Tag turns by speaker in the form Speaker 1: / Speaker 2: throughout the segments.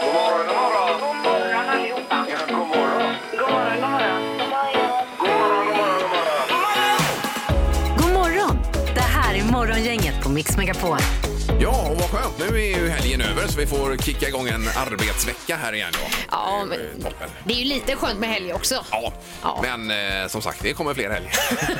Speaker 1: God morgon, god morgon.
Speaker 2: God morgon allihopa.
Speaker 1: Ja, god morgon.
Speaker 2: God morgon, god morgon.
Speaker 1: God morgon, god morgon, god morgon.
Speaker 3: God morgon! Det här är Morgongänget på Mix Megapol.
Speaker 4: Ja, och vad skönt. Nu är ju helgen över så vi får kicka igång en arbetsvecka här igen. Då.
Speaker 5: Ja,
Speaker 4: Det är ju
Speaker 5: men-
Speaker 4: toppen.
Speaker 5: Det är ju lite skönt med helg också.
Speaker 4: Ja.
Speaker 5: Ja.
Speaker 4: men eh, som sagt, det kommer fler helger.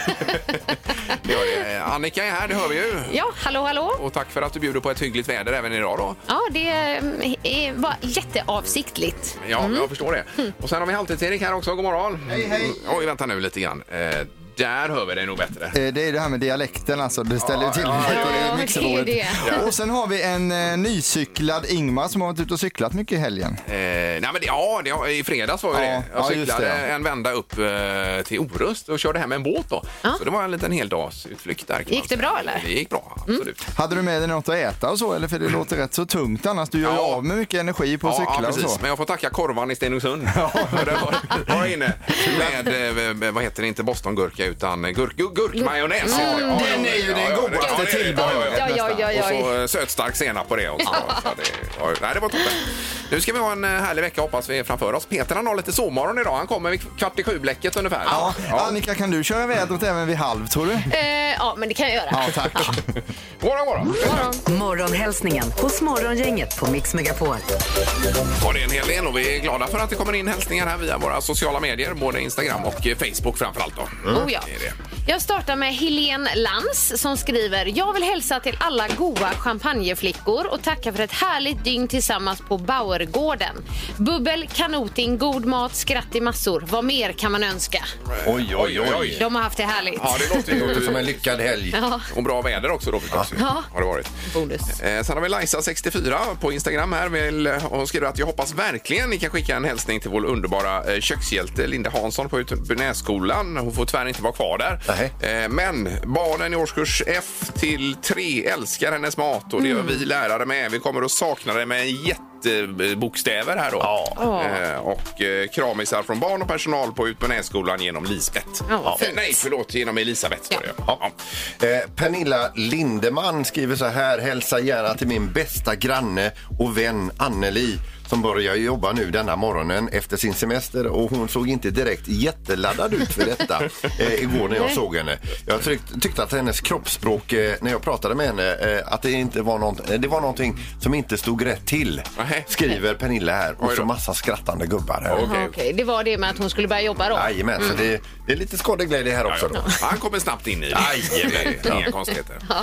Speaker 4: det gör det. Eh, Annika är här, det hör vi ju.
Speaker 5: Ja, hallå, hallå.
Speaker 4: Och tack för att du bjuder på ett hyggligt väder även idag då.
Speaker 5: Ja, det eh, är, var jätteavsiktligt.
Speaker 4: Ja, jag förstår det. Och sen har vi Halvtids-Erik här också. God morgon. Hej, hej. Oj, vänta nu lite grann. Eh, där hör vi dig nog bättre.
Speaker 6: Eh, Det är det här med dialekten alltså, det ställer ju till
Speaker 4: Ja,
Speaker 6: lite
Speaker 5: ja, ja,
Speaker 6: i mixerbordet.
Speaker 5: det är det.
Speaker 6: Och sen har vi en eh, nycyklad Ingmar som har varit ute och cyklat mycket i helgen.
Speaker 4: Eh, nej, men det, ja, det, i fredags var ju
Speaker 6: Ja,
Speaker 4: det. Jag
Speaker 6: ja, just
Speaker 4: cyklade
Speaker 6: det, ja.
Speaker 4: en vända upp eh, till Orust och körde hem med en båt då.
Speaker 5: Ja.
Speaker 4: Så det var en liten heldagsutflykt där. kan man
Speaker 5: Gick det
Speaker 4: säga.
Speaker 5: bra, eller?
Speaker 4: Det gick bra, absolut.
Speaker 6: Hade du med dig något att äta och så eller? För det låter rätt så tungt annars. Du gör ju
Speaker 4: Ja.
Speaker 6: av med mycket energi på att
Speaker 4: Ja,
Speaker 6: cykla
Speaker 4: ja,
Speaker 6: och
Speaker 4: precis.
Speaker 6: så.
Speaker 4: Men jag får tacka korvan i Stenungsund. För Där var, var jag inne med, eh, med, vad heter det, inte bostongurka utan gurk, gurk, gurkmajonnäs. heter det. Ja, ja,
Speaker 6: Den är ju
Speaker 4: ja,
Speaker 6: den
Speaker 4: ja,
Speaker 6: godaste
Speaker 4: ja, det är det.
Speaker 6: tillbehöret.
Speaker 4: Ja, ja, ja.
Speaker 5: Ja, ja, ja,
Speaker 4: Och så
Speaker 5: ja.
Speaker 4: eh, sötstark senap på det också. Så det, ja, nej, det var toppen. Nu ska vi ha en eh, härlig vecka hoppas vi är framför oss. Peter han har lite sovmorgon idag. Han kommer vid kvart i sju-bläcket ungefär.
Speaker 6: Ja. Annika, kan du köra vädret även vid halv tror du?
Speaker 5: Eh, ja, men det kan jag göra.
Speaker 6: Ja, tack.
Speaker 4: Godmorgon, godmorgon.
Speaker 3: Morgonhälsningen hos Morgongänget på Mix Megapol.
Speaker 4: Och det är en hel del och vi är glada för att det kommer in hälsningar här via våra sociala medier, både Instagram och eh, Facebook framförallt då.
Speaker 5: Oh, ja.
Speaker 4: Det är det.
Speaker 5: Jag startar med Helene Lantz som skriver Jag vill hälsa till alla goa champagneflickor och tacka för ett härligt dygn tillsammans på Bauergården. Bubbel, kanoting, god mat, skratt i massor. Vad mer kan man önska?
Speaker 7: Oj, oj, oj.
Speaker 5: De har haft det härligt.
Speaker 4: Ja, det låter ju
Speaker 7: Det är som en lyckad helg.
Speaker 5: Ja.
Speaker 4: Och bra väder också då förstås.
Speaker 5: Ja.
Speaker 4: Har det varit.
Speaker 5: Bonus.
Speaker 4: Eh, sen har vi Lajsa64 på Instagram här. Vill, hon skriver att jag hoppas verkligen ni kan skicka en hälsning till vår underbara eh, kökshjälte Linda Hansson på Utbynässkolan. Hon får tyvärr inte vara kvar där.
Speaker 7: Nej.
Speaker 4: Eh, men barnen i årskurs F till 3 älskar hennes mat och det gör vi lärare med. Vi kommer att sakna det med en jättebokstäver här då.
Speaker 5: Ja.
Speaker 4: Eh, och eh, kramisar från barn och personal på Utbynässkolan genom Lisbeth.
Speaker 5: Ja,
Speaker 4: Eh,
Speaker 5: fint.
Speaker 4: Nej, förlåt, genom Elisabeth. var det. Ja.
Speaker 7: Eh, Pernilla Lindeman skriver så här. Hälsa gärna till min bästa granne och vän Anneli som börjar jobba nu denna morgonen efter sin semester och hon såg inte direkt jätteladdad ut för detta eh, igår när jag såg henne. Jag tryck, tyckte att hennes kroppsspråk eh, när jag pratade med henne eh, att det inte var något, eh, det var någonting som inte stod rätt till
Speaker 4: Nej.
Speaker 7: skriver Pernilla här
Speaker 4: Oj
Speaker 7: och så
Speaker 4: då.
Speaker 7: massa skrattande gubbar här.
Speaker 4: Okej. Mm.
Speaker 5: Okej, det var det med att hon skulle börja jobba då.
Speaker 7: Jajamän, så det, det är lite skadeglädje här också. Då.
Speaker 4: Han kommer snabbt in i det.
Speaker 7: Jajamän.
Speaker 4: Det är Inga konstigheter.
Speaker 5: Ja.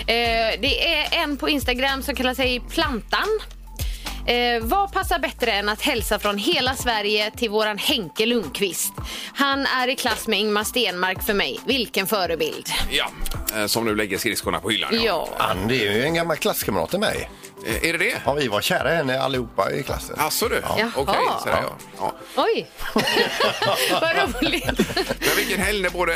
Speaker 5: Eh, det är en på Instagram som kallar sig Plantan. Eh, vad passar bättre än att hälsa från hela Sverige till våran Henke Lundqvist? Han är i klass med Ingmar Stenmark för mig. Vilken förebild.
Speaker 4: Ja, eh, som nu lägger skridskorna på hyllan.
Speaker 5: Ja.
Speaker 7: Ann, det är ju en gammal klasskamrat till mig.
Speaker 4: Eh, Är det det?
Speaker 7: Ja, vi var kära i henne allihopa i klassen.
Speaker 4: Jaså du?
Speaker 5: Jaha.
Speaker 4: Okej, sådär ja. ja.
Speaker 5: Oj! vad roligt.
Speaker 4: Men vilken helg när både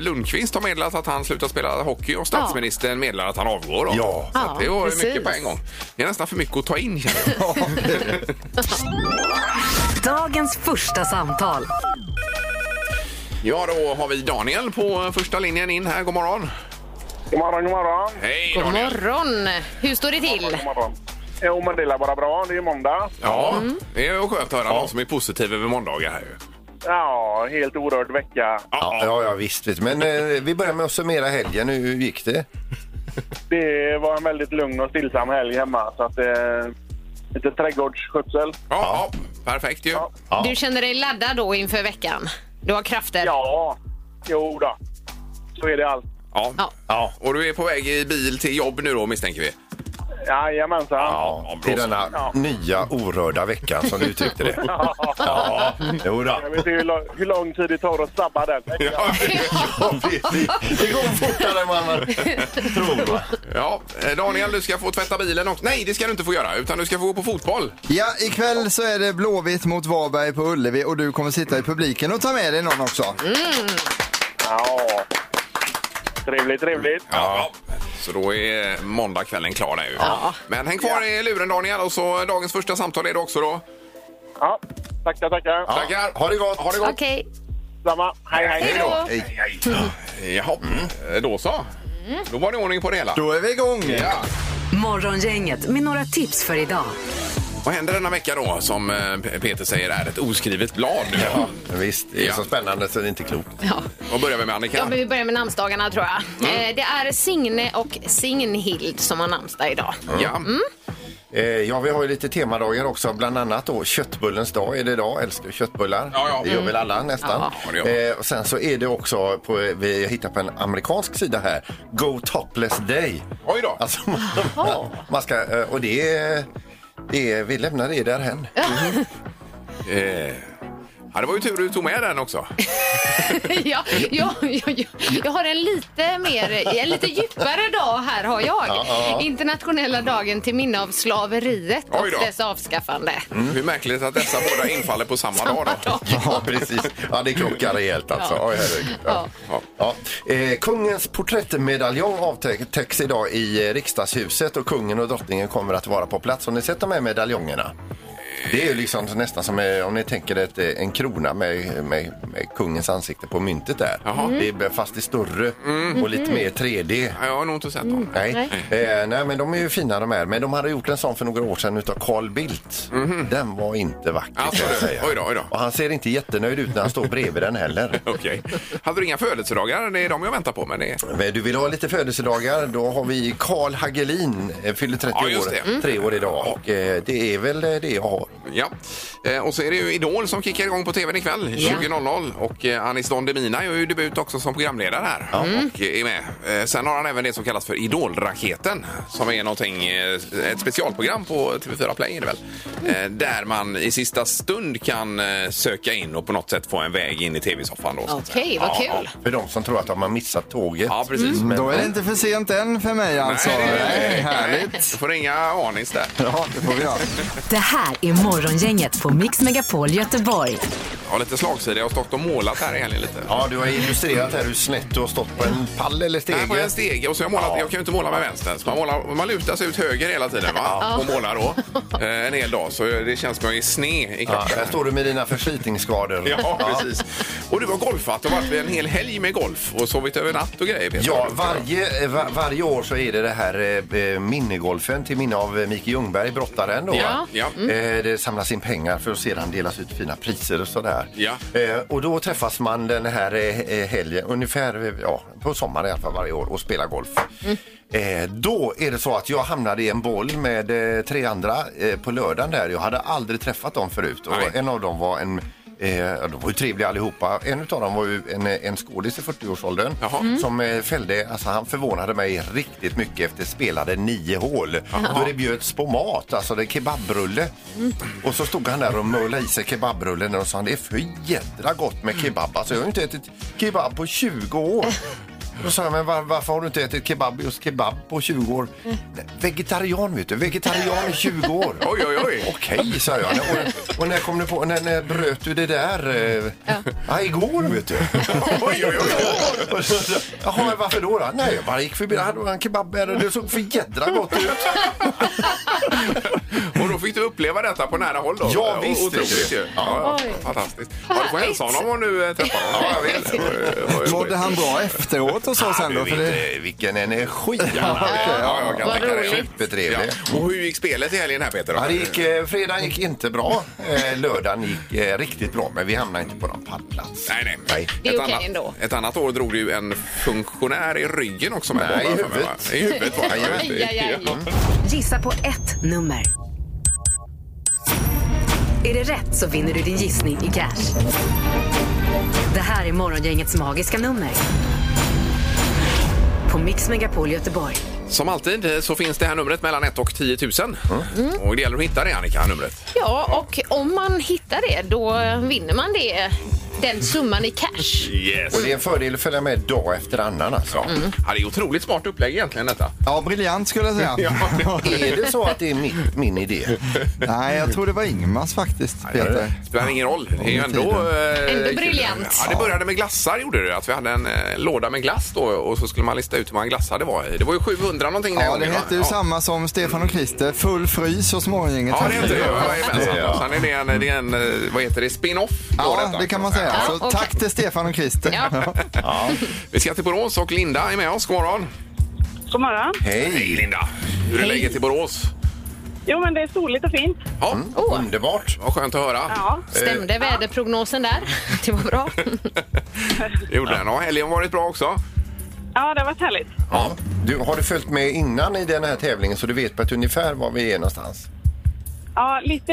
Speaker 4: Lundqvist har meddelat att han slutar spela hockey och statsministern meddelar att han avgår. Då.
Speaker 7: Ja.
Speaker 4: Så att det
Speaker 5: Ja,
Speaker 4: var ju
Speaker 5: precis.
Speaker 4: mycket på en gång. Det är nästan för mycket att ta in känner jag.
Speaker 3: Dagens första samtal.
Speaker 4: Ja, då har vi Daniel på eh, första linjen in här. God morgon.
Speaker 1: God morgon, god morgon.
Speaker 4: Hej
Speaker 5: God
Speaker 4: Daniel.
Speaker 5: morgon. Hur står det till?
Speaker 1: God morgon. Jo, men det är bara bra. Det är måndag.
Speaker 4: Ja, det är ju skönt att höra någon som är positiv över måndagar här ju.
Speaker 1: Ja, helt orörd vecka.
Speaker 7: Ja, ja, ja visst, visst. Men eh, vi börjar med att summera helgen. Hur gick det?
Speaker 1: Det var en väldigt lugn och stillsam helg hemma. Så att, eh, lite trädgårdsskötsel.
Speaker 4: Ja, ja. perfekt ju.
Speaker 1: Ja.
Speaker 5: Du känner dig laddad då inför veckan? Du har krafter?
Speaker 1: Ja, jo då. Så är det allt.
Speaker 4: Ja.
Speaker 5: Ja.
Speaker 4: ja. Och du är på väg i bil till jobb nu då misstänker vi?
Speaker 1: Jajamensan.
Speaker 4: ja, bra
Speaker 7: Till
Speaker 4: så.
Speaker 7: denna
Speaker 1: Ja.
Speaker 7: nya orörda veckan som du uttryckte det. Ja, jo då.
Speaker 1: Jag vet inte hur, lång, hur lång tid det tar att sabba den.
Speaker 4: Ja,
Speaker 7: Ja, precis. Det går fortare än vad man tror. va?
Speaker 4: ja. Eh, Daniel, du ska få tvätta bilen också. Nej, det ska du inte få göra, utan du ska få gå på fotboll.
Speaker 6: Ja, ikväll så är det Blåvitt mot Varberg på Ullevi och du kommer sitta i publiken och ta med dig någon också.
Speaker 4: Mm.
Speaker 1: Ja. Trevligt, trevligt.
Speaker 4: Ja. Så då är måndagskvällen klar där ju.
Speaker 5: Ja.
Speaker 4: Men häng kvar i luren Daniel och så dagens första samtal är det också då.
Speaker 1: Ja. Tackar, tackar.
Speaker 7: Ja.
Speaker 4: Tackar.
Speaker 7: Ha det gott. Ha det gott.
Speaker 5: Okej.
Speaker 1: Samma. Hej, hej.
Speaker 5: Hej då.
Speaker 4: Jaha, Eh, då så. Då var det ordning på det hela.
Speaker 6: Då är vi igång!
Speaker 4: Ja.
Speaker 3: Morgongänget med några tips för idag.
Speaker 4: Vad händer denna vecka då som eh, P- Peter säger är ett oskrivet blad nu?
Speaker 7: Ja, visst, det är
Speaker 4: Ja.
Speaker 7: så spännande så det är inte klokt.
Speaker 5: Ja.
Speaker 4: Och börjar vi med Annika.
Speaker 5: Ja, men vi börjar med namnsdagarna tror jag. Eh, det är Signe och Signhild som har namnsdag idag.
Speaker 4: Ja.
Speaker 7: Eh, ja, vi har ju lite temadagar också, bland annat då köttbullens dag är det idag. Älskar köttbullar.
Speaker 4: Ja, ja.
Speaker 7: Det gör väl alla nästan.
Speaker 4: Ja, det gör
Speaker 7: Eh, och sen så är det också, på, vi hittar på en amerikansk sida här, Go Topless Day.
Speaker 4: Oj då.
Speaker 7: Alltså, man, man ska, eh, och det är, det är, vi lämnar det därhän.
Speaker 4: Eh. Ja, det var ju tur du tog med den också.
Speaker 5: ja, jag, jag, jag, jag har en lite, mer, en lite djupare dag här har jag.
Speaker 7: Ja, ja, ja.
Speaker 5: Internationella dagen till minne av slaveriet och
Speaker 4: Oj då. Mm.
Speaker 5: dess avskaffande.
Speaker 4: Hur märkligt att dessa båda infaller på samma, dag då.
Speaker 7: Ja, precis. Ja, det krockar rejält alltså.
Speaker 5: Ja.
Speaker 7: Oj, herregud. Ja.
Speaker 4: Ja.
Speaker 7: Ja. Eh, kungens porträttmedaljong avtäcks idag i eh, riksdagshuset och kungen och drottningen kommer att vara på plats. Har ni sett de här medaljongerna? Det är ju liksom nästan som eh, om ni tänker ett, eh, en krona med, med, med kungens ansikte på myntet där.
Speaker 4: Jaha. Mm.
Speaker 7: Det är b- fast det är större och lite mer 3D.
Speaker 4: Ja, Jag har nog inte sett dem.
Speaker 7: Nej. Eh, nej, men de är ju fina de här. Men de hade gjort en sån för några år sedan utav Carl Bildt. Den var inte vacker
Speaker 4: Mhm. Alltså,
Speaker 7: kan jag
Speaker 4: du.
Speaker 7: säga.
Speaker 4: Oj då, oj då.
Speaker 7: Och han ser inte jättenöjd ut när han står bredvid den heller.
Speaker 4: Okej. Hade du inga födelsedagar? Det är de jag väntar på. Men det... är-
Speaker 7: Men Eh, Du vill ha lite födelsedagar? Då har vi Carl Hagelin, eh, fyller 30
Speaker 4: Ja, just
Speaker 7: år,
Speaker 4: det. Mm.
Speaker 7: tre år idag. Och eh, det är väl eh, det jag har.
Speaker 4: Ja. Eh, Och så är det ju Idol som kickar igång på tvn ikväll 20.00. Och eh, Anis Don Demina gör ju debut också som programledare här. Och är med. Eh, Sen har han även det som kallas för Idolraketen. Som är någonting, eh, ett specialprogram på TV4 Play är det väl. Eh, Där man i sista stund kan eh, söka in och på något sätt få en väg in i tv-soffan. då, så att säga.
Speaker 5: Okej, vad kul.
Speaker 7: För de som tror att de har missat tåget.
Speaker 4: Ja, precis.
Speaker 7: Men-
Speaker 6: Då är det inte för sent än för mig alltså.
Speaker 4: det är det inte.
Speaker 6: Nej,
Speaker 7: eh,
Speaker 4: Du
Speaker 6: härligt.
Speaker 4: får inga anis där.
Speaker 6: Ja, det får vi göra.
Speaker 3: Det här är Morgongänget på Mix Megapol Göteborg.
Speaker 4: Jag har lite slagsida. Jag har stått och målat här i helgen lite.
Speaker 7: Ja, du har illustrerat här hur snett du har stått på en pall eller
Speaker 4: Här på
Speaker 7: stege.
Speaker 4: en stege och så har jag målat,
Speaker 7: Ja.
Speaker 4: jag kan ju inte måla med vänster så man, målar, man lutar sig ut höger hela tiden va? och målar då eh, en hel dag så det känns som jag är sned i
Speaker 7: Ja,
Speaker 4: kroppen.
Speaker 7: här står du med dina förslitningsskador.
Speaker 4: Ja, precis. Och du har golfat och varit en hel helg med golf och sovit över natt och grejer. Peter.
Speaker 7: Ja, varje, eh, va- varje år så är det det här eh, eh, minnegolfen till minne av eh, Micke Ljungberg, brottaren. Då,
Speaker 4: Ja,
Speaker 7: va?
Speaker 4: ja.
Speaker 7: Eh, Det samlas in pengar för att sedan delas ut fina priser och sådär.
Speaker 4: Ja.
Speaker 7: Eh, Och då träffas man den här eh, eh, helgen, ungefär eh, ja, på sommaren i alla fall varje år och spelar golf.
Speaker 4: Mm.
Speaker 7: Eh, Då är det så att jag hamnade i en boll med eh, tre andra eh, på lördagen där. Jag hade aldrig träffat dem förut och
Speaker 4: Nej.
Speaker 7: en av dem var en Eh, ja, de var ju trevliga allihopa. En av dem var ju en, eh, en skådis i 40-årsåldern
Speaker 4: Jaha. Mm.
Speaker 7: som eh, fällde, alltså han förvånade mig riktigt mycket efter spelade nio hål. Då det bjöds på mat, alltså det är kebabrulle. Och så stod han där och möllade i sig kebabrullen och sa det är för jädra gott med kebab. Alltså jag har ju inte ätit kebab på 20 år. Då sa jag, men var, varför har du inte ätit kebab, just kebab på 20 år? "Nej, Vegetarian vet du, vegetarian i 20 år.
Speaker 4: Oj, oj, oj.
Speaker 7: Okej, sa jag. Och, och när kom du på, när, när bröt du det där? eh? Ja, igår vet du.
Speaker 4: oj, oj, oj.
Speaker 7: Och så- så- Jaha, men varför då? då? Nej, jag bara gick förbi. Där hade han kebab med och det såg för jädra gott ut.
Speaker 4: Och då fick du uppleva detta på nära håll då?
Speaker 7: Ja, visst.
Speaker 4: Otroligt ju. Ja, ja. Fantastiskt. Ja, du får hälsa honom om du eh, träffar honom. Ja, jag vet.
Speaker 6: Mådde han bra efteråt och så sen då? För det...
Speaker 7: eh, Vilken energi
Speaker 4: Ja,
Speaker 7: han hade.
Speaker 4: ja, jag kan
Speaker 5: Vad
Speaker 4: tänka det.
Speaker 5: roligt.
Speaker 7: Supertrevlig.
Speaker 4: Ja. Och hur gick spelet i helgen här Peter? då?
Speaker 7: Ja, det gick, eh, fredagen gick inte bra. Eh, lördagen gick eh, riktigt bra, men vi hamnade inte på någon pallplats.
Speaker 4: Nej, nej.
Speaker 5: Det är
Speaker 4: Ett
Speaker 5: okej
Speaker 4: annat-
Speaker 5: ändå.
Speaker 4: Ett annat år drog du ju en funktionär i ryggen också. Med
Speaker 7: Nej,
Speaker 4: bollar
Speaker 7: i
Speaker 4: för mig, va?
Speaker 7: huvudet.
Speaker 4: I huvudet var det. Mm.
Speaker 5: Aj, aj, aj.
Speaker 4: Ja.
Speaker 3: Gissa på ett nummer. Är det rätt så vinner du din gissning i cash. Det här är Morgongängets magiska nummer. På Mix Megapol Göteborg.
Speaker 4: Som alltid eh, så finns det här numret mellan 1 och 10 000. Och det gäller att hitta det Annika, numret.
Speaker 5: Ja, och om man hittar det, då vinner man det, den summan i cash.
Speaker 4: Yes.
Speaker 7: Och det är en fördel att följa med dag efter annan alltså.
Speaker 4: Ja, det är otroligt smart upplägg egentligen detta.
Speaker 6: Ja, briljant skulle jag säga.
Speaker 7: Är det så att det är mitt, min idé?
Speaker 6: Nej, jag tror det var Ingmars faktiskt, Peter.
Speaker 4: spelar ingen roll. Det är ju
Speaker 6: Om
Speaker 4: ändå... eh,
Speaker 5: Ändå
Speaker 4: kul.
Speaker 5: briljant.
Speaker 4: Ja, det började med glassar gjorde det. Att vi hade en eh, låda med glass då och så skulle man lista ut hur många glassar det var i. Det var ju 700 någonting den
Speaker 6: Ja, det
Speaker 4: gången, va?
Speaker 6: hette ju
Speaker 4: Ja.
Speaker 6: samma som Stefan och Christer. Full frys hos Morgongänget.
Speaker 4: Ja, det heter det. Ja, jajamensan.
Speaker 7: Ja.
Speaker 4: Sen är det en, det är en eh, vad heter det, spin-off. då,
Speaker 6: Ja,
Speaker 4: detta.
Speaker 6: det kan man säga.
Speaker 5: Ja,
Speaker 6: Så
Speaker 5: okej.
Speaker 6: tack till Stefan och Christer.
Speaker 5: Ja.
Speaker 4: Vi ska till Borås och Linda är med oss. God morgon.
Speaker 2: God morgon.
Speaker 7: Hej!
Speaker 4: Linda. Hur är läget i Borås?
Speaker 2: Jo, men det är soligt och fint.
Speaker 4: Ja,
Speaker 6: Mm.
Speaker 5: Åh,
Speaker 7: Underbart.
Speaker 4: vad skönt att höra.
Speaker 2: Ja.
Speaker 5: stämde väderprognosen där? Det var bra.
Speaker 4: Det gjorde den. Ja, helgen har varit bra också.
Speaker 2: ja, det har varit härligt.
Speaker 7: Ja. Du, har du följt med innan i den här tävlingen så du vet på ett ungefär var vi är någonstans?
Speaker 2: Ja, lite,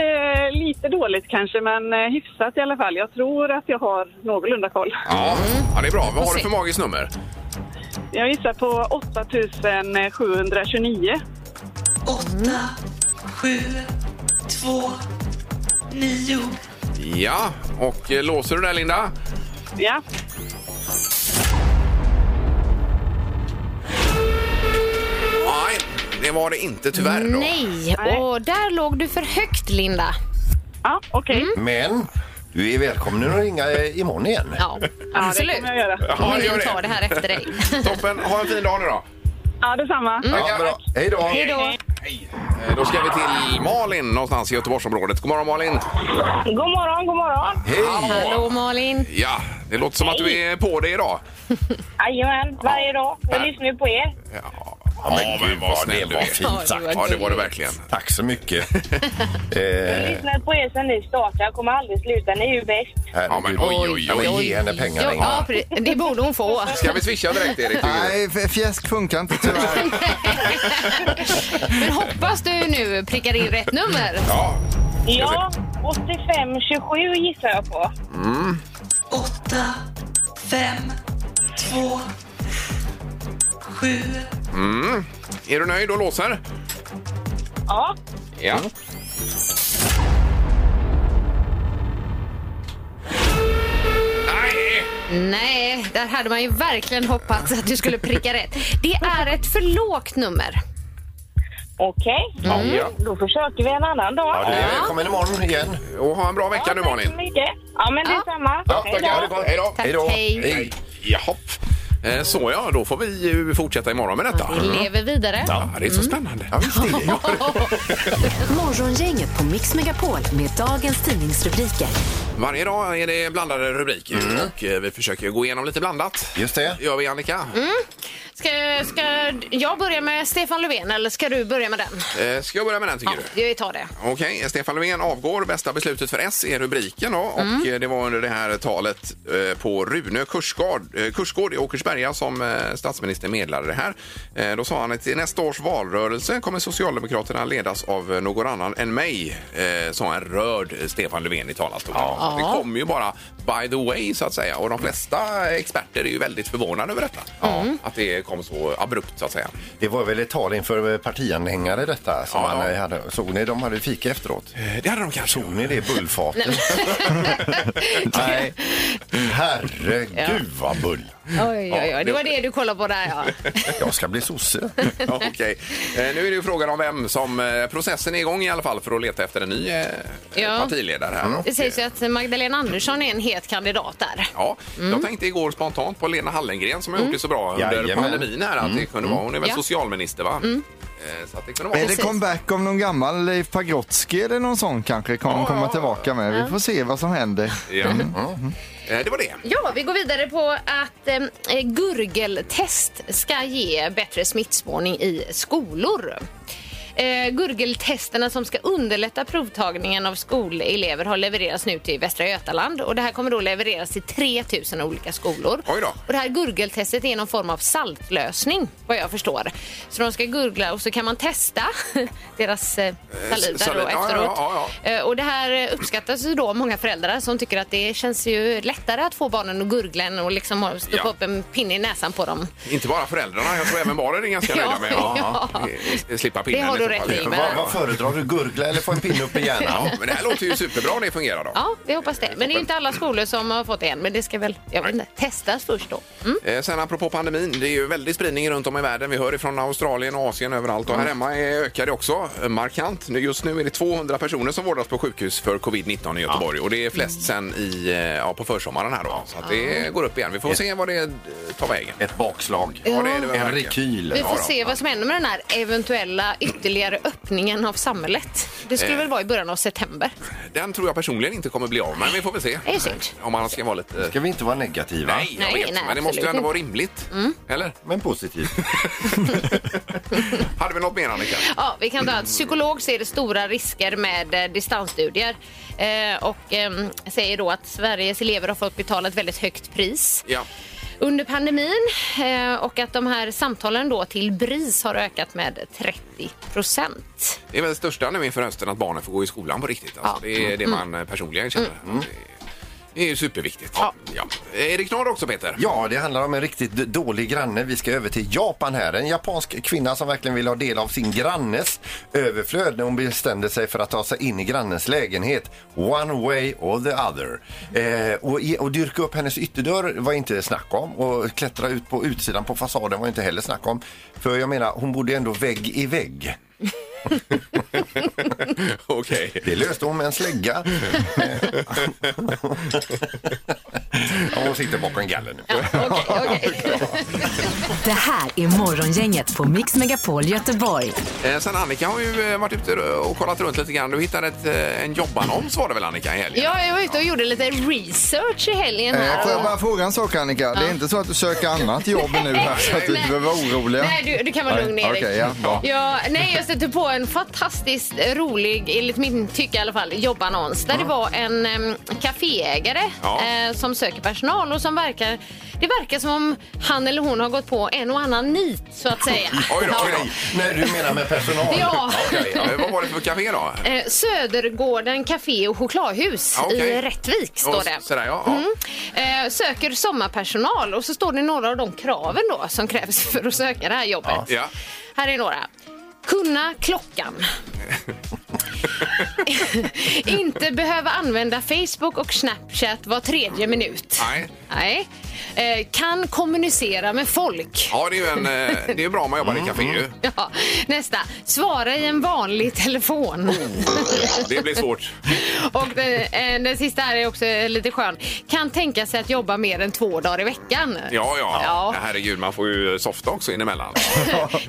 Speaker 2: lite dåligt kanske, men eh, hyfsat i alla fall. Jag tror att jag har någorlunda koll.
Speaker 4: Ja, ja det är bra. Vad har
Speaker 5: se.
Speaker 4: du för magiskt nummer?
Speaker 2: Jag gissar på 8729.
Speaker 4: Ja, och eh, låser du där Linda?
Speaker 2: Ja,
Speaker 4: Nej, det var det inte tyvärr. Då.
Speaker 5: Nej, och där låg du för högt, Linda.
Speaker 2: ja okej.
Speaker 7: Men du är välkommen att ringa eh, imorgon igen.
Speaker 5: Ja,
Speaker 2: Ja, det
Speaker 5: absolut.
Speaker 2: kommer jag göra.
Speaker 4: Ja,
Speaker 5: Vi
Speaker 4: gör
Speaker 5: tar det
Speaker 4: det.
Speaker 5: här efter dig.
Speaker 4: Toppen, ha en fin dag nu då.
Speaker 2: Ja, detsamma.
Speaker 7: Ja, bra. Hej då.
Speaker 5: Hej då.
Speaker 4: Eh, Då ska vi till Malin någonstans i Göteborgsområdet. God morgon Malin!
Speaker 2: God morgon, god morgon.
Speaker 7: Hej.
Speaker 5: Hallå, Malin.
Speaker 4: Ja, det låter som att du är på det idag.
Speaker 2: Jajamän, varje dag. Jag lyssnar ju på er.
Speaker 4: Ja, ja men vad snäll
Speaker 7: det
Speaker 4: du
Speaker 7: var
Speaker 4: är.
Speaker 7: fint sagt.
Speaker 4: Ja, det var det verkligen.
Speaker 7: Tack så mycket. eh,
Speaker 2: lyssnat på er sedan ni startade. Jag kommer aldrig sluta. Ni är ju bäst.
Speaker 4: Ja, men oj, oj,
Speaker 7: Ja,
Speaker 4: oj.
Speaker 7: men ge henne pengarna.
Speaker 5: Jo, Ja,
Speaker 7: Ingmar.
Speaker 5: precis. det borde hon få.
Speaker 4: Ska vi swisha direkt Erik? tycker du?
Speaker 6: Nej, f- fjäsk funkar inte tyvärr.
Speaker 5: Men hoppas du nu prickar in rätt nummer.
Speaker 4: Ja,
Speaker 2: Ja, 8527 gissar jag på.
Speaker 4: är du nöjd och låser?
Speaker 2: Ja.
Speaker 4: Ja. Nej!
Speaker 5: Nej, där hade man ju verkligen hoppats att du skulle pricka rätt. Det är ett för lågt nummer.
Speaker 2: Okej,
Speaker 4: Ja.
Speaker 2: då försöker vi en annan dag.
Speaker 7: Ja, du är välkommen imorgon igen.
Speaker 4: Och ha en bra vecka nu Malin.
Speaker 2: mycket. Ja, men detsamma.
Speaker 7: Ja,
Speaker 2: Hej
Speaker 7: tackar.
Speaker 2: då.
Speaker 7: Ha det gott.
Speaker 4: Hej då.
Speaker 5: Tack,
Speaker 7: Hej då.
Speaker 5: hej.
Speaker 7: Hej.
Speaker 4: Jaha. Eh, Så ja, då får vi ju fortsätta imorgon med detta.
Speaker 5: Vi lever vidare.
Speaker 4: Ja, det är så spännande. Ja, visst är det. Ja.
Speaker 3: Morgongänget på Mix Megapol med dagens tidningsrubriker.
Speaker 4: Varje dag är det blandade rubriker och eh, vi försöker gå igenom lite blandat.
Speaker 7: Just det.
Speaker 4: Gör vi Annika?
Speaker 5: Ska, ska jag börja med Stefan Löfven eller ska du börja med den?
Speaker 4: Eh, Ska jag börja med den tycker
Speaker 5: Ja,
Speaker 4: du?
Speaker 5: vi tar det.
Speaker 4: Okej, Stefan Löfven avgår. Bästa beslutet för S är rubriken. Då. Och eh, Det var under det här talet eh, på Rune Kursgård, eh, Kursgård i Åkersberga som eh, statsministern meddelade det här. Eh, Då sa han att i nästa års valrörelse kommer Socialdemokraterna ledas av eh, någon annan än mig, eh, sa en rörd Stefan Löfven i talarstolen. Så Det kom ju bara by the way, så att säga. Och de flesta experter är ju väldigt förvånade över detta. Att det kom så abrupt, så att säga.
Speaker 7: Det var väl ett tal inför partianhängare detta som
Speaker 4: Ja.
Speaker 7: han hade. Såg ni de hade fika efteråt?
Speaker 4: Eh, Det hade de kanske.
Speaker 7: Såg ni det bullfatet? Nej. Herregud vad bull.
Speaker 5: Oj, oj, oj. Det var det du kollade på där, ja.
Speaker 7: Jag ska bli sosse.
Speaker 4: Ja, Okej. Eh, Nu är det ju frågan om vem som... eh, Processen är igång i alla fall för att leta efter en ny eh,
Speaker 5: Ja. Mm.
Speaker 4: partiledare. Här.
Speaker 5: Det sägs ju att Magdalena Andersson är en het kandidat där.
Speaker 4: Ja,
Speaker 5: Mm.
Speaker 4: Jag tänkte igår spontant på Lena Hallengren som har gjort det så bra under
Speaker 7: Jajamän.
Speaker 4: pandemin. Här, att det kunde vara. Hon är väl
Speaker 5: Ja. Mm.
Speaker 4: socialminister, va? Eh, Så att det kunde vara.
Speaker 6: Är det comeback om någon gammal Leif Pagrotsky eller någon sån kanske kan
Speaker 4: Ja,
Speaker 6: komma
Speaker 4: ja,
Speaker 6: tillbaka med? Vi får se vad som händer.
Speaker 4: Ja.
Speaker 5: Mm.
Speaker 4: Eh, Det var det.
Speaker 5: Ja, vi går vidare på att eh, gurgeltest ska ge bättre smittspårning i skolor. Eh, gurgeltesterna som ska underlätta provtagningen av skolelever har levererats nu till Västra Götaland och det här kommer då levereras till 3000 olika skolor.
Speaker 4: Oj då.
Speaker 5: Och det här gurgeltestet är någon form av saltlösning vad jag förstår. Så de ska gurgla och så kan man testa deras eh, saliv där då
Speaker 4: saliv, ja, ja,
Speaker 5: efteråt.
Speaker 4: ja, ja.
Speaker 5: Eh, Och det här eh, uppskattas ju då av många föräldrar som tycker att det känns ju lättare att få barnen att gurgla än att liksom ha- stoppa
Speaker 4: Ja.
Speaker 5: upp en pinne i näsan på dem.
Speaker 4: Inte bara föräldrarna, jag tror även barnen är ganska nöjda med att
Speaker 5: Ja.
Speaker 4: eh, slippa pinnen.
Speaker 5: Det har du
Speaker 4: i så fall.
Speaker 5: rätt i, men-
Speaker 7: Vad, vad föredrar du, gurgla eller få en pinne upp i hjärnan?
Speaker 4: Ja, men det här låter ju superbra om det fungerar. Då.
Speaker 5: Ja, vi hoppas det. Men det är ju inte alla skolor som har fått det än, men det ska väl jag vet inte, testas först då. Mm.
Speaker 4: Eh, Sen apropå pandemin, det är ju väldigt spridning runt om i världen. Vi hör ifrån Australien och Asien överallt och här hemma är- ökar det också eh, markant. Nu- Just nu är det 200 personer som vårdas på sjukhus för covid-19 i Göteborg och det är flest sen i, eh, ja, på försommaren här då. Så att det går upp igen. Vi får se vad det eh, tar vägen.
Speaker 7: Ett bakslag.
Speaker 4: Ja, det är det väl
Speaker 7: En
Speaker 4: verkligen.
Speaker 7: rekyl.
Speaker 5: Vi
Speaker 7: Ja,
Speaker 5: får
Speaker 7: då.
Speaker 5: se vad som händer med den här eventuella ytterligare öppningen av samhället. Det skulle
Speaker 4: Eh.
Speaker 5: väl vara i början av september.
Speaker 4: Den tror jag personligen inte kommer bli av, men vi får väl se.
Speaker 5: Det är synd.
Speaker 4: Om man ska vara lite...
Speaker 7: Ska vi inte vara negativa?
Speaker 4: Nej, jag
Speaker 5: Nej,
Speaker 4: vet.
Speaker 5: nej,
Speaker 4: men det måste ju ändå
Speaker 5: absolut inte. Mm.
Speaker 4: vara rimligt. Eller?
Speaker 7: Men positivt.
Speaker 4: Hade vi något mer, Annika?
Speaker 5: Ja, vi kan ta
Speaker 4: Mm.
Speaker 5: att psykolog ser stora risker med eh, distansstudier eh, och eh, säger då att Sveriges elever har fått betala ett väldigt högt pris
Speaker 4: Ja.
Speaker 5: under pandemin eh, och att de här samtalen då till BRIS har ökat med 30 procent.
Speaker 4: Det är väl det största nu inför hösten att barnen får gå i skolan på riktigt. Alltså,
Speaker 5: Ja. Mm.
Speaker 4: Det är det man personligen känner. Det- Det är ju superviktigt. Ja. Är det knorr också, Peter?
Speaker 7: Ja, det handlar om en riktigt d- dålig granne. Vi ska över till Japan här. En japansk kvinna som verkligen vill ha del av sin grannes överflöd när hon bestämde sig för att ta sig in i grannens lägenhet. One way or the other. Eh, och, i- och dyrka upp hennes ytterdörr var inte snack om och klättra ut på utsidan på fasaden var inte heller snack om. För jag menar, hon bodde ändå vägg i vägg.
Speaker 4: Okej.
Speaker 7: Det löste hon med en slägga. ja, hon sitter bakom gallen nu.
Speaker 5: Okej, okej.
Speaker 3: Det här är Morgongänget på Mix Megapol Göteborg.
Speaker 4: Eh, Sen Annika har ju eh, varit ute och kollat runt lite grann. Du hittade ett, eh, en jobbannons var det väl Annika i helgen?
Speaker 5: Ja, jag var ute och gjorde lite research i helgen här.
Speaker 6: Eh, Får jag
Speaker 5: och-
Speaker 6: bara fråga en sak Annika? Det är inte så att du söker annat jobb nu här så att du inte
Speaker 5: Nej.
Speaker 6: behöver vara orolig?
Speaker 5: Nej, du, du kan vara
Speaker 6: Nej,
Speaker 5: lugn Erik.
Speaker 6: okej, ja, bra.
Speaker 5: Ja, nej, jag stötte på en fantastiskt rolig, enligt min tycke i alla fall, jobbannons. Där det var en em, kaféägare
Speaker 4: Ja.
Speaker 5: eh, som söker personal och som verkar det verkar som om han eller hon har gått på en och annan nit, så att säga.
Speaker 4: Oj då, oj då.
Speaker 7: Nej, nej, du menar med personal.
Speaker 5: Ja.
Speaker 4: Okej, ja. Eh, Vad var det för café då?
Speaker 5: Eh, Södergården Café och Chokladhus
Speaker 4: Ja, okej.
Speaker 5: i Rättvik, står
Speaker 4: Och
Speaker 5: det.
Speaker 4: s- Sådär, ja. ja.
Speaker 5: Eh, söker sommarpersonal och så står det några av de kraven då som krävs för att söka det här jobbet.
Speaker 4: Ja.
Speaker 5: Här är några. Kunna klockan. Inte behöva använda Facebook och Snapchat var tredje minut.
Speaker 4: Nej.
Speaker 5: Nej. Eh, kan kommunicera med folk.
Speaker 4: Ja, det är ju en, eh, det är ju bra om man jobbar i
Speaker 5: Mm.
Speaker 4: café ju.
Speaker 5: Ja. Nästa. Svara i en vanlig telefon.
Speaker 4: Oh. Det blir svårt.
Speaker 5: Och den, eh, den sista här är också lite skön. Kan tänka sig att jobba mer än två dagar i veckan.
Speaker 4: Ja, ja.
Speaker 5: Ja.
Speaker 4: Herregud, man får ju softa också inemellan.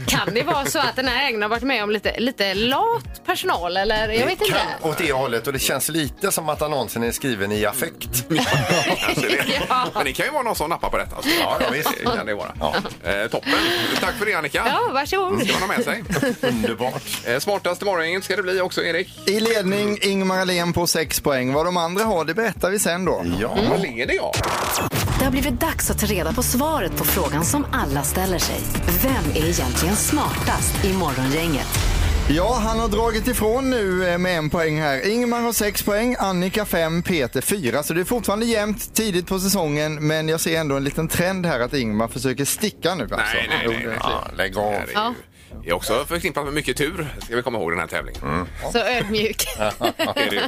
Speaker 5: Kan det vara så att den här ägaren har varit med om lite, lite lat personal? Eller? Jag vet inte.
Speaker 7: Kan åt det hållet och det känns lite som att annonsen är skriven i affekt.
Speaker 4: Kanske det.
Speaker 5: Ja.
Speaker 4: Men det kan ju vara någon som nappar på detta. Alltså.
Speaker 7: Ja, ja, visst.
Speaker 4: Det kan det vara.
Speaker 7: Ja.
Speaker 4: Eh, toppen. Tack för det, Annika.
Speaker 5: Ja, varsågod.
Speaker 4: ska man ha med sig.
Speaker 7: Underbart.
Speaker 4: Eh, smartaste morgonen ska det bli också, Erik.
Speaker 6: I ledning Ingmar Ahlén på 6 poäng. Vad de andra har det berättar vi sen då.
Speaker 7: Ja.
Speaker 4: Vad leder jag?
Speaker 3: Det har blivit dags att ta reda på svaret på frågan som alla ställer sig. Vem är egentligen smartast i Morgongänget?
Speaker 6: Ja, han har dragit ifrån nu eh, med en poäng här. Ingmar har 6 poäng, Annika 5, Peter 4. Så det är fortfarande jämnt tidigt på säsongen men jag ser ändå en liten trend här att Ingmar försöker sticka nu alltså.
Speaker 4: Nej, nej, nej, nej.
Speaker 7: Ja, lägg
Speaker 4: Det
Speaker 7: av.
Speaker 4: här är ju det är också förknippat med mycket tur, ska vi komma ihåg den här tävlingen.
Speaker 7: Mm.
Speaker 5: Så ödmjuk.
Speaker 4: Det är det ju.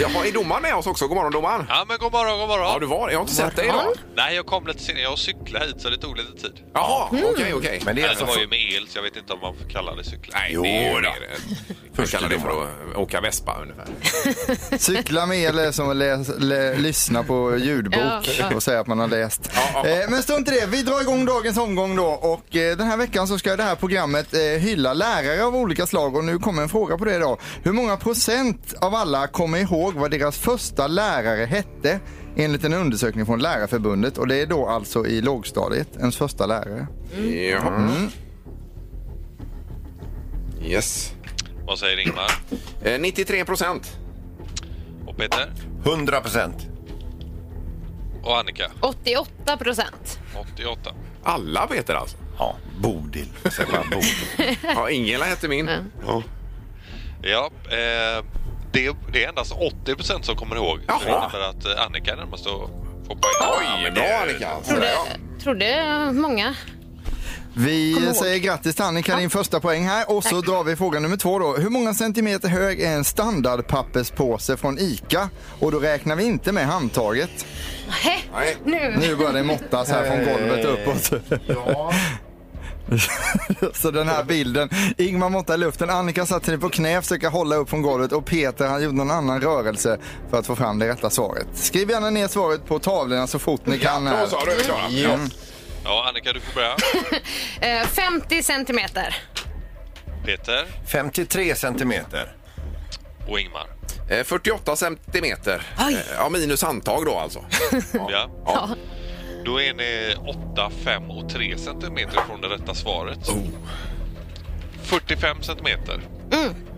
Speaker 4: Jaha, är domaren med oss också? God morgon domaren!
Speaker 8: Ja men god morgon, god morgon.
Speaker 4: Ja, du var Jag har inte sett dig idag.
Speaker 8: Nej, jag kom lite senare. Jag cyklade hit så det tog lite tid.
Speaker 4: Jaha, okej, okej.
Speaker 7: Mm. Men det är
Speaker 8: Men det
Speaker 7: alltså
Speaker 8: var ju
Speaker 7: för,
Speaker 8: med el så jag vet inte om man får kalla det cykla.
Speaker 4: Nej,
Speaker 7: Jo
Speaker 4: det är ju
Speaker 7: då.
Speaker 4: mer... Vi kallar det för att åka vespa ungefär.
Speaker 6: Cykla med eller som att läs, lä, lyssna på ljudbok
Speaker 5: Ja.
Speaker 6: och säga att man har läst.
Speaker 4: Ja, ja.
Speaker 6: Eh, men strunt i det, vi drar igång dagens omgång då och eh, den här veckan så ska det här programmet eh, hylla lärare av olika slag och nu kommer en fråga på det då. Hur många procent av alla kommer ihåg vad deras första lärare hette enligt en undersökning från Lärarförbundet och det är då alltså i lågstadiet, ens första lärare.
Speaker 7: Mm.
Speaker 4: Jaha. Yes.
Speaker 8: Vad säger Ingmar?
Speaker 4: Eh, 93 procent.
Speaker 8: Och Peter?
Speaker 7: 100 procent.
Speaker 8: Och Annika?
Speaker 5: 88 procent.
Speaker 8: 88.
Speaker 4: Alla Peter alltså?
Speaker 7: Ja, Bodil. Säger man Bodil.
Speaker 4: Ja, Ingela hette min. Ja.
Speaker 8: Ja, eh, det, det är endast 80 som kommer ihåg. Så
Speaker 4: Jaha.
Speaker 8: det innebär att eh, Annika är närmast att få poäng.
Speaker 4: Oj, bra Annika!
Speaker 5: Trodde,
Speaker 4: Ja.
Speaker 5: trodde många.
Speaker 6: Vi säger grattis till Annika, din första poäng här. Och så drar vi fråga nummer två då. Hur många centimeter hög är en standardpapperspåse från ICA? Och då räknar vi inte med handtaget.
Speaker 5: Nähä,
Speaker 4: Nej.
Speaker 5: nu.
Speaker 6: Nu börjar det måttas här från golvet uppåt.
Speaker 7: Ja.
Speaker 6: Så den här bilden. Ingmar måttade i luften, Annika satt sig på knä, försökte hålla upp från golvet och Peter han gjorde någon annan rörelse för att få fram det rätta svaret. Skriv gärna ner svaret på tavlorna så fort ni kan
Speaker 4: Då
Speaker 6: här. Mm.
Speaker 4: så, då är vi klara.
Speaker 8: Ja, Annika du får börja.
Speaker 5: Eh, 50 centimeter.
Speaker 8: Peter
Speaker 7: 53 centimeter.
Speaker 8: och Ingmar.
Speaker 4: Eh, 48 centimeter.
Speaker 5: Oj.
Speaker 4: Eh, Ja, minus handtag då alltså.
Speaker 8: Ja.
Speaker 4: Ja.
Speaker 8: Då är ni 8, 5 och 3 centimeter från det rätta svaret.
Speaker 4: Oh.
Speaker 8: 45 centimeter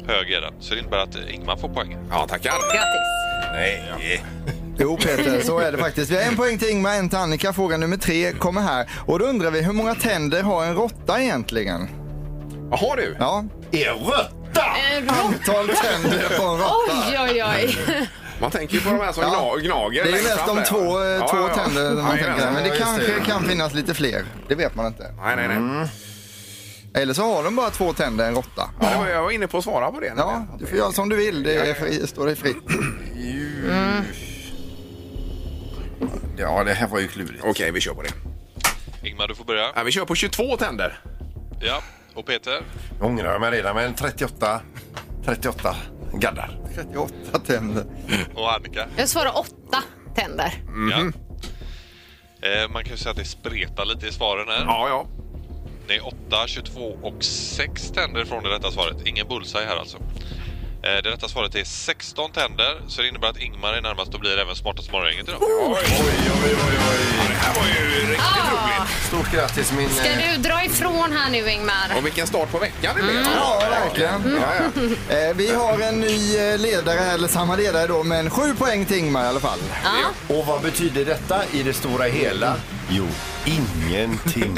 Speaker 8: hög är den, så det innebär att Ingmar får poäng.
Speaker 4: Ja, tackar.
Speaker 5: Grattis!
Speaker 4: Nej.
Speaker 6: Jo Peter, så är det faktiskt. Vi har en poäng till Ingmar, en till Annika. Fråga nummer tre kommer här. Och då undrar vi, hur många tänder har en råtta egentligen?
Speaker 4: Jaha du.
Speaker 6: Ja,
Speaker 7: Är råtta!
Speaker 5: En Eh, rock.
Speaker 6: antal tänder på en råtta.
Speaker 5: Oj, oj, oj.
Speaker 4: Man tänker ju på de här som
Speaker 6: Ja.
Speaker 4: gna- gnager.
Speaker 6: Det är ju
Speaker 4: längst
Speaker 6: mest
Speaker 4: fram
Speaker 6: de
Speaker 4: där.
Speaker 6: två, eh,
Speaker 4: Ja,
Speaker 6: två
Speaker 4: ja, ja.
Speaker 6: tänder man
Speaker 4: Jajamän.
Speaker 6: tänker. Men det
Speaker 7: Ja, just
Speaker 6: kanske
Speaker 7: det.
Speaker 6: kan Mm. finnas lite fler. Det vet man inte.
Speaker 4: Nej, nej, nej.
Speaker 6: Eller så har de bara två tänder, en råtta.
Speaker 4: Ja, det var, jag var inne på att svara på det.
Speaker 6: Ja, du får göra som du vill. Det är fri, står dig fritt.
Speaker 7: Ja, det här var ju klurigt.
Speaker 4: Okej, vi kör på det.
Speaker 8: Ingmar, du får börja.
Speaker 4: Ja, vi kör på 22 tänder.
Speaker 8: Ja. Och Peter?
Speaker 7: Jag ångrar mig redan, men 38, 38 gaddar.
Speaker 6: 38 tänder.
Speaker 8: Och Annika?
Speaker 5: Jag svarar åtta tänder.
Speaker 4: Mhm.
Speaker 8: Ja. Eh, man kan ju säga att det spretar lite i svaren här.
Speaker 4: Ja, ja.
Speaker 8: Ni är 8, 22 och 6 tänder från det rätta svaret. Ingen bullseye här alltså. Eh, Det rätta svaret är 16 tänder, så det innebär att Ingmar är närmast och blir även smartast i morgongänget idag.
Speaker 4: Det här var ju riktigt roligt.
Speaker 7: Stort grattis min...
Speaker 5: Ska
Speaker 7: eh,
Speaker 5: du dra ifrån här nu, Ingmar?
Speaker 4: Och vilken start på veckan det blev.
Speaker 6: Ja,
Speaker 5: Mm.
Speaker 6: verkligen. Eh, Vi har en ny eh, ledare, eller samma ledare då, men sju poäng till Ingmar i alla fall.
Speaker 5: Ja.
Speaker 7: Och vad betyder detta i det stora hela? Jo, ingenting.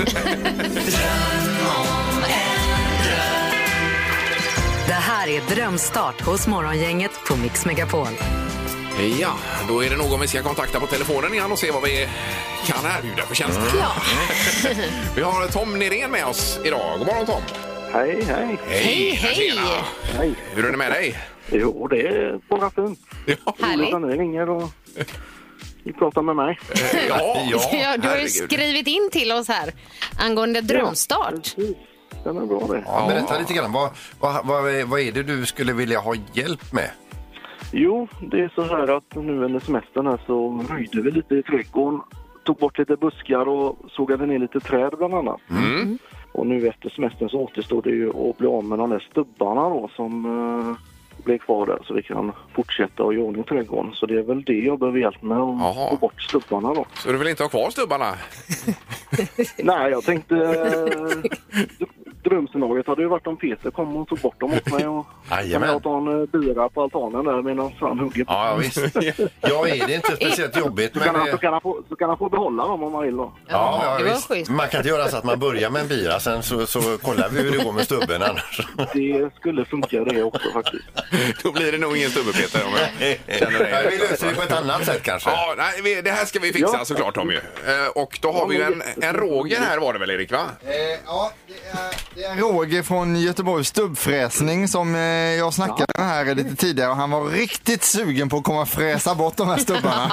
Speaker 3: Det här är Drömstart hos Morgongänget på Mix Megapol.
Speaker 4: Ja, då är det någon vi ska kontakta på telefonen igen och se vad vi kan erbjuda för tjänster.
Speaker 5: Mm. Ja.
Speaker 4: Vi har Tom Nirén med oss idag. God morgon Tom!
Speaker 9: Hej, hej.
Speaker 5: Hej, hej.
Speaker 4: Tjena.
Speaker 9: Hej.
Speaker 4: Hur är det med dig?
Speaker 9: Jo, det är bara fint.
Speaker 4: Ja,
Speaker 5: Härligt.
Speaker 9: Sanningen ringer och ni pratar med mig.
Speaker 4: ja,
Speaker 5: Ja, du har ju
Speaker 4: herregud.
Speaker 5: skrivit in till oss här angående drömstart.
Speaker 9: Precis. Den är bra det.
Speaker 7: Ja, berätta lite grann. Vad, vad, vad, är- vad är det du skulle vilja ha hjälp med?
Speaker 9: Jo, det är så här att nu under semestern här så röjde vi lite i trädgården. Tog bort lite buskar och sågade ner lite träd bland annat.
Speaker 4: Mm.
Speaker 9: Och nu efter semestern så återstår det ju att bli av med de där stubbarna då som eh, blev kvar där så vi kan fortsätta och göra i ordning trädgården. Så det är väl det jag behöver hjälp med
Speaker 4: Jaha.
Speaker 9: att få bort stubbarna då.
Speaker 4: Så du vill inte ha kvar stubbarna?
Speaker 9: Nej, jag tänkte... eh, Drömscenariot hade ju varit om Peter kom och tog bort dem åt mig och jag
Speaker 7: Jajamän.
Speaker 9: hade åt en eh, bira på altanen där medan han hugger.
Speaker 7: Ja, ja, visst. Ja, är det inte speciellt jobbigt.
Speaker 9: Så
Speaker 7: Men,
Speaker 9: kan, han, så,
Speaker 7: eh,
Speaker 9: kan han få, så kan han få behålla dem om han vill då.
Speaker 7: ja,
Speaker 5: det
Speaker 7: ja,
Speaker 5: var
Speaker 7: visst.
Speaker 5: schysst.
Speaker 7: Man kan inte göra så att man börjar med en bira, sen så, så kollar vi hur det går med stubben annars.
Speaker 9: Det skulle funka det också faktiskt.
Speaker 4: Då blir det nog ingen stubbe Peter. Om jag känner
Speaker 7: Nej,
Speaker 4: dig.
Speaker 7: vi löser det på ett annat sätt kanske.
Speaker 4: Ja, nej, vi- det här ska vi fixa
Speaker 9: Ja.
Speaker 4: såklart Tom ju. Eh, Och då har vi ju en, en Roger här var det väl Erik va?
Speaker 6: Eh, ja, det är, det är Roger från Göteborgs stubbfräsning som eh, jag snackade med här lite tidigare och han var riktigt sugen på att komma och fräsa bort de här stubbarna.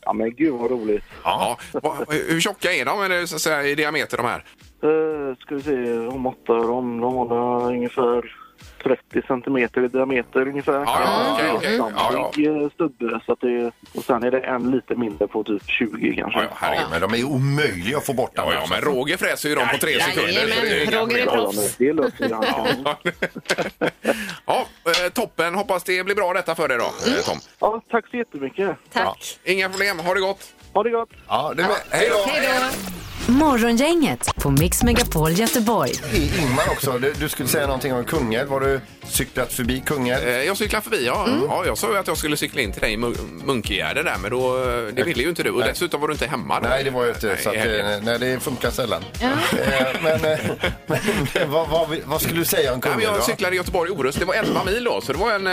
Speaker 9: Ja men gud vad roligt.
Speaker 4: Ja. Va- Hur tjocka är de eller så att säga, i diameter de här?
Speaker 9: Uh, ska vi se, om åtta, om de har ungefär 30 centimeter i diameter ungefär.
Speaker 4: Ja, ja, okej,
Speaker 9: Det
Speaker 4: okej.
Speaker 9: är
Speaker 4: Ja, ja.
Speaker 9: samtidig, eh, Stubbe, så att det, och sen är det en lite mindre på typ 20 kanske.
Speaker 4: Ja, ja,
Speaker 7: Ja,
Speaker 4: herregud.
Speaker 7: men de är omöjliga att få bort
Speaker 4: Ja, ja, men Roger fräser ju dem på tre sekunder. så det är
Speaker 5: Jajamän,
Speaker 4: inga
Speaker 5: Roger är
Speaker 4: problem.
Speaker 9: Ja, men
Speaker 5: proffs.
Speaker 9: det löser jag.
Speaker 4: Ja, eh, toppen. Hoppas det blir bra detta för dig då, eh, Tom.
Speaker 9: Ja, tack så jättemycket.
Speaker 5: Tack.
Speaker 4: Inga problem. Ha det gott.
Speaker 9: Ha det gott!
Speaker 7: Ja, det med. Hej då!
Speaker 5: Hej då.
Speaker 3: Morgongänget på Mix Megapol Göteborg.
Speaker 7: I- Ingmar också, du, du skulle säga någonting om Kungälv. Var du cyklat förbi Kungälv?
Speaker 4: Eh, Jag cyklar förbi, ja.
Speaker 7: Mm.
Speaker 4: ja. Jag sa ju att jag skulle cykla in till dig i Mun- Munkegärde där, men då, eh, det ville ju inte du. Och dessutom var du inte hemma. då.
Speaker 7: Nej, det var jag inte.
Speaker 4: Nej,
Speaker 7: Så att,
Speaker 4: i helgen.
Speaker 7: eh, nej, det funkar sällan. Eh, Men, eh, men, men vad, vad, vi- vad skulle du säga om
Speaker 4: Nej, men
Speaker 7: Kungälv?
Speaker 4: jag
Speaker 7: då?
Speaker 4: cyklade i Göteborg Orust. Det var 11 mil då, så det var en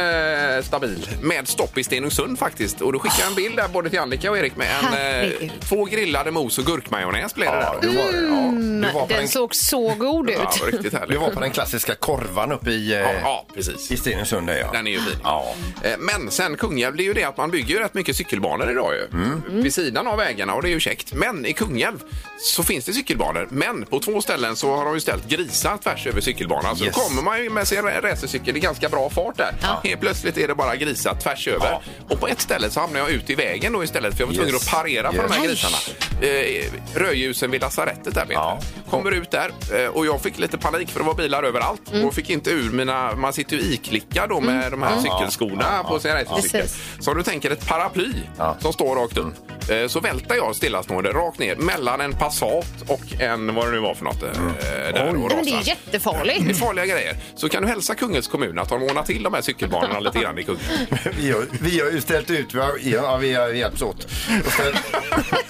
Speaker 4: eh, stabil. Med stopp i Stenungsund faktiskt. Och då skickade jag en bild där både till Annika och Erik med en, eh,
Speaker 5: Herregud.
Speaker 4: två grillade mos och gurkmajonnäs blev det
Speaker 7: Ja,
Speaker 4: där.
Speaker 7: du var, ja, du, var på den,
Speaker 5: Mm, Den såg så god ut.
Speaker 4: Ja, det var riktigt
Speaker 7: du
Speaker 4: härligt.
Speaker 7: var på den klassiska korvan uppe i, eh,
Speaker 4: Ja, ja, precis.
Speaker 7: i Stenungsund. där, Ja.
Speaker 4: Den är ju fin.
Speaker 7: Ja.
Speaker 4: Eh, Men sen Kungälv, det är ju det att man bygger ju rätt mycket cykelbanor idag ju.
Speaker 7: Mm.
Speaker 4: Vid sidan av vägarna och det är ju käckt. Men i Kungälv så finns det cykelbanor. Men på två ställen så har de ju ställt grisar tvärs över cykelbanan. Så
Speaker 7: Yes.
Speaker 4: då kommer man ju med sin racercykel i ganska bra fart där. Helt plötsligt är det bara grisar tvärs över. Och på ett ställe så hamnar jag ut i vägen då istället för jag var tvungen
Speaker 7: Yes.
Speaker 4: att parera på
Speaker 7: Yes.
Speaker 4: de här
Speaker 7: Aj.
Speaker 4: grisarna. Eh, rödljusen vid lasarettet där, Peter.
Speaker 7: Ja.
Speaker 4: Kommer ut där eh, och jag fick lite panik för det var bilar överallt
Speaker 5: Mm.
Speaker 4: och fick inte ur mina... Man sitter ju iklickad då med de här cykelskorna på sin racercykel.
Speaker 5: Precis.
Speaker 4: Så om du tänker ett paraply
Speaker 7: Ja.
Speaker 4: som står rakt upp eh, så välter jag stillastående rakt ner mellan en Passat och en... vad det nu var för något. eh,
Speaker 7: Mm.
Speaker 4: Där och
Speaker 5: Nej, men det är
Speaker 4: rasar.
Speaker 5: ju jättefarligt.
Speaker 4: Det är farliga grejer. Så kan du hälsa Kungälvs kommun att de ordnar till de här cykelbanorna lite grann i Kungälv.
Speaker 7: Vi har, vi har ju ställt ut, vi har, ja, vi har hjälpts åt. Och ställ-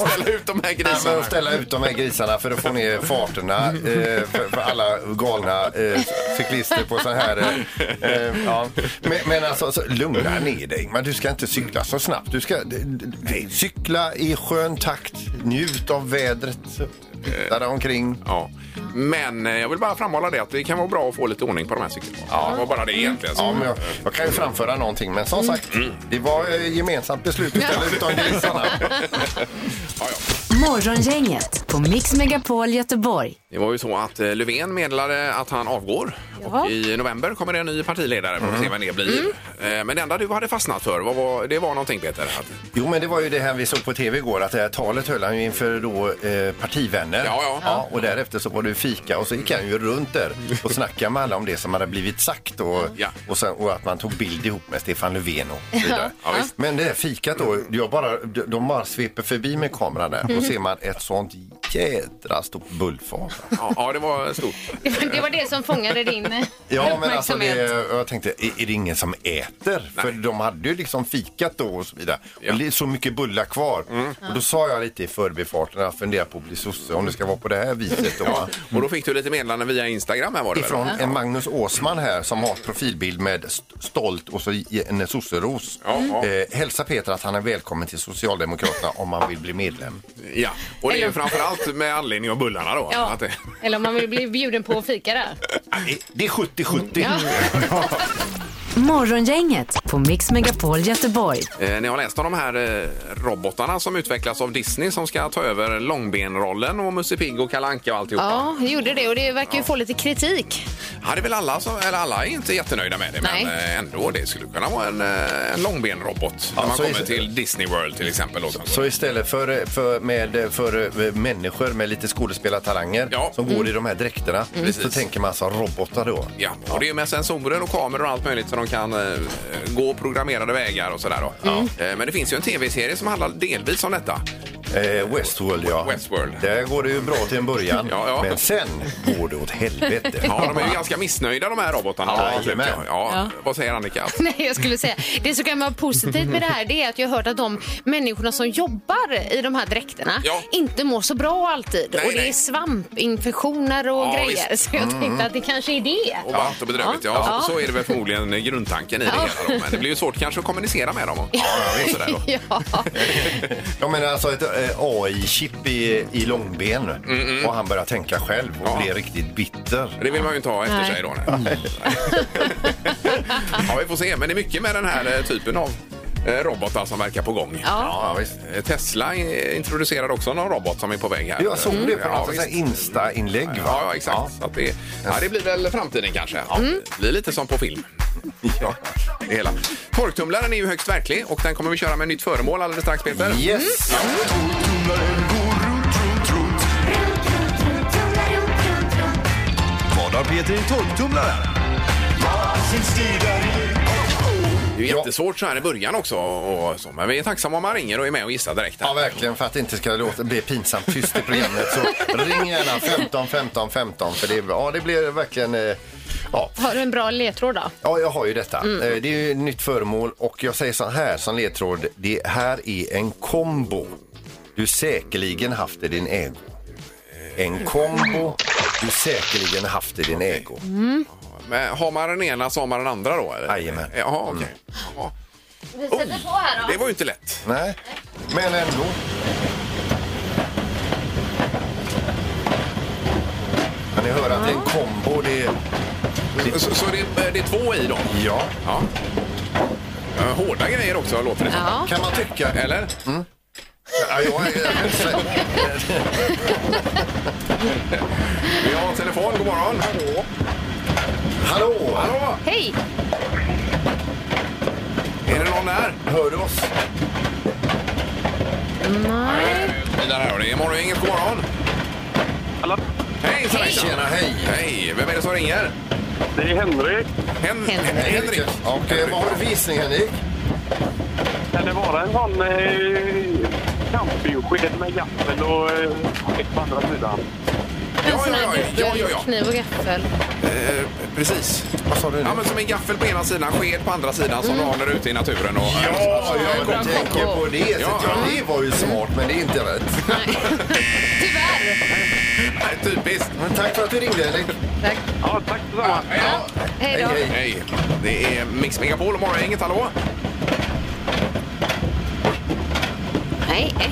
Speaker 4: Och ställa ut de här
Speaker 7: Nej, men
Speaker 4: grisarna.
Speaker 7: att ställa ut de här grisarna för att få ner farterna eh, för, för alla galna eh, cyklister på så här... Eh, eh, ja. men, men alltså, så, lugna ner dig. Men du ska inte cykla så snabbt. Du ska d- d- d- cykla i skön takt, njut av vädret,
Speaker 4: Eh.
Speaker 7: där omkring.
Speaker 4: Ja. Men eh, jag vill bara framhålla det att det kan vara bra att få lite ordning på de här cykelbanorna. Ja. Det var bara det egentligen.
Speaker 7: Ja,
Speaker 4: Så.
Speaker 7: men jag, jag kan ju framföra någonting, men som sagt,
Speaker 4: Mm.
Speaker 7: det var eh, gemensamt beslut att ställa ut de grisarna.
Speaker 3: Morgongänget på Mix Megapol Göteborg.
Speaker 4: Det var ju så att eh, Löfven meddelade att han avgår. Och I november kommer det en ny partiledare. Vi får
Speaker 7: Mm.
Speaker 4: se vem det blir. Eh, Men det enda du hade fastnat för, vad var, det var någonting Peter? Att,
Speaker 7: Jo, men det var ju det här vi såg på tv igår, att det här talet höll han ju inför då eh, partivänner.
Speaker 4: Ja, ja.
Speaker 7: och därefter så var det ju fika och så gick han ju runt där och snackade med alla om det som hade blivit sagt och,
Speaker 4: Ja.
Speaker 7: och, sen, och att man tog bild ihop med Stefan Löfven och så vidare.
Speaker 4: Ja, visst.
Speaker 7: Men det här fikat då, jag bara, de bara sveper förbi med kameran där
Speaker 4: Mm.
Speaker 7: och ser man ett sånt jädra stort bullfat.
Speaker 4: ja, ja, det var stort.
Speaker 5: Det var- Det var det som fångade din
Speaker 7: Ja, men alltså det,
Speaker 5: uppmärksamhet.
Speaker 7: jag tänkte, är är det ingen som äter? För de hade ju liksom fikat då och så vidare.
Speaker 4: Ja. Mm.
Speaker 7: Och det är så mycket bullar kvar. Och då sa jag lite i förbifarten, jag funderar på att bli sosse om det ska vara på det här viset då. va?
Speaker 4: Och då fick du lite meddelanden via Instagram här var det väl?
Speaker 7: Ifrån en Magnus Åsman här som har ett profilbild med st- stolt och så i- en sosseros.
Speaker 4: Ja, ja.
Speaker 7: Eh, hälsa Peter att han är välkommen till Socialdemokraterna om han vill bli medlem.
Speaker 4: Ja, och det är ju
Speaker 5: Eller-
Speaker 4: framförallt med anledning av bullarna då.
Speaker 5: Ja.
Speaker 4: Att det,
Speaker 5: Eller om man vill bli bjuden på att fika där.
Speaker 7: Det är 70-70.
Speaker 3: Morgongänget på Mix Megapol Göteborg.
Speaker 4: eh, ni har läst om de här eh, robotarna som utvecklas av Disney som ska ta över långbenrollen och Musse Pigg och Kalle Anka och alltihopa.
Speaker 5: Ja, jag gjorde det och det verkar ju få lite kritik.
Speaker 4: Ja, det är väl alla som, eller alla är inte jättenöjda med det, men
Speaker 5: Nej.
Speaker 4: eh, ändå, det skulle kunna vara en, eh, en långbenrobot när man
Speaker 7: så
Speaker 4: kommer
Speaker 7: är-
Speaker 4: till Disney World till exempel. Då,
Speaker 7: Så istället för, för, med, för eh, människor med lite skådespelartalanger
Speaker 4: Ja. Mm.
Speaker 7: som går i de här dräkterna så tänker man alltså robotar då.
Speaker 4: Ja, och det är med sensorer och kameror och allt möjligt så de kan eh, gå programmerade vägar och sådär. Då. Eh, men det finns ju en tv-serie som handlar delvis om detta.
Speaker 7: Eh, Westworld ja.
Speaker 4: Westworld.
Speaker 7: Där går det ju bra till en början.
Speaker 4: Ja, ja.
Speaker 7: Men sen går det åt helvete.
Speaker 4: Ja, de är ju ganska missnöjda de här robotarna.
Speaker 7: Ja,
Speaker 4: Ja,
Speaker 7: jajamän.
Speaker 4: ja. Ja. Vad säger Annika?
Speaker 5: Nej, jag skulle säga. Det som kan vara positivt med det här det är att jag har hört att de människorna som jobbar i de här dräkterna
Speaker 4: Ja.
Speaker 5: inte mår så bra alltid.
Speaker 4: Nej,
Speaker 5: och det
Speaker 4: nej.
Speaker 5: är svampinfektioner och
Speaker 4: Ja,
Speaker 5: grejer.
Speaker 4: visst.
Speaker 5: Så jag tänkte att det kanske är det.
Speaker 4: Och varmt och bedrövligt. Ja,
Speaker 5: Ja.
Speaker 4: så-
Speaker 5: Ja.
Speaker 4: Så är det väl förmodligen grundtanken i det
Speaker 5: Ja.
Speaker 4: hela. Då. Men det blir ju svårt kanske att kommunicera med dem. Och, och sådär då.
Speaker 5: Ja,
Speaker 7: Jag menar alltså ett eh, AI-chip i, i långben och han börjar tänka själv och
Speaker 4: Ja.
Speaker 7: blir riktigt bitter.
Speaker 4: Det vill man ju inte ha efter
Speaker 5: Nej.
Speaker 4: sig då. Nej. ja, vi får se. Men det är mycket med den här eh, typen av eh, robotar som verkar på gång.
Speaker 5: ja.
Speaker 7: Ja, visst.
Speaker 4: Eh, Tesla eh, introducerar också någon robot som är på väg här.
Speaker 7: Jag såg det på
Speaker 4: Ja,
Speaker 7: något
Speaker 4: visst.
Speaker 7: ja, Insta-inlägg. va?
Speaker 4: Ja, ja exakt. Så att det, ja, det blir väl framtiden kanske. Ja. Det blir lite som på film.
Speaker 7: Ja.
Speaker 4: Det hela. Torktumlaren är ju högst verklig och den kommer vi köra med nytt föremål alldeles strax Peter.
Speaker 7: Yes!
Speaker 10: Vad har Peter i torktumlaren?
Speaker 4: Det är ju jättesvårt så här i början också. Och så, men vi är tacksamma om man ringer och är med och gissar direkt.
Speaker 7: Ja,
Speaker 4: Här.
Speaker 7: verkligen. För att det inte ska låta, bli pinsamt tyst i programmet så ring gärna 15 15 15 för det, ja, det blir verkligen... eh, Ja.
Speaker 5: Har du en bra ledtråd då?
Speaker 7: ja, jag har ju detta. Eh, Det är ju ett nytt föremål och jag säger så här som ledtråd. Det här är en kombo du säkerligen haft i din ägo. En kombo du säkerligen haft i din ägo.
Speaker 4: Men har man den ena så har man den andra då? eller?
Speaker 7: Jajamän. Mm.
Speaker 4: Jaha, okej. Jaha.
Speaker 5: Vi sätter på här
Speaker 4: Det var ju inte lätt.
Speaker 7: Nej, men ändå. Men ni hör att det är en kombo. Det är,
Speaker 4: Så, så det, är- det är två i dem?
Speaker 7: ja.
Speaker 4: Ja. Eh, Hårda grejer också låter det som.
Speaker 5: Ja.
Speaker 7: Kan man tycka.
Speaker 4: Eller?
Speaker 7: Ja, jag, jag,
Speaker 4: Vi har telefon. God morgon. Hallå.
Speaker 7: hallå!
Speaker 5: Hej!
Speaker 4: Är det någon där?
Speaker 7: Hör du oss?
Speaker 5: Nej.
Speaker 4: lastbilar här och det är morgon, inget god morgon.
Speaker 1: Hallå?
Speaker 4: Hej, hej. Tjena, hej. Hej, vem är det som ringer?
Speaker 1: Det är Henrik.
Speaker 4: Hen
Speaker 5: Henrik.
Speaker 4: Henrik.
Speaker 7: Och eh, vad har du för gissning Henrik?
Speaker 1: Kan det vara en sån eh, campingsked med gaffel och eh, på andra sidan?
Speaker 5: En
Speaker 4: Ja,
Speaker 5: sån
Speaker 4: ja,
Speaker 5: här
Speaker 4: ja, ja,
Speaker 5: dubbel
Speaker 4: ja, ja.
Speaker 5: kniv och gaffel.
Speaker 4: Eh, precis.
Speaker 7: Vad sa du nu?
Speaker 4: Ja, men som en gaffel på ena sidan, sked på andra sidan som du har där ute i naturen. Och,
Speaker 7: Ja,
Speaker 5: bra
Speaker 7: jag tänker
Speaker 5: kombo.
Speaker 7: på det. Så
Speaker 4: Ja.
Speaker 7: ja. det var ju smart, men det är inte rätt.
Speaker 5: Nej. Tyvärr.
Speaker 4: Nej, typiskt.
Speaker 7: Men tack för att du ringde, Henrik.
Speaker 5: Tack.
Speaker 1: Ja, tack detsamma.
Speaker 5: Ja. Hej då.
Speaker 4: Hej. Det är Mix Megapol och Morgongänget. Hallå?
Speaker 5: Nej, eh.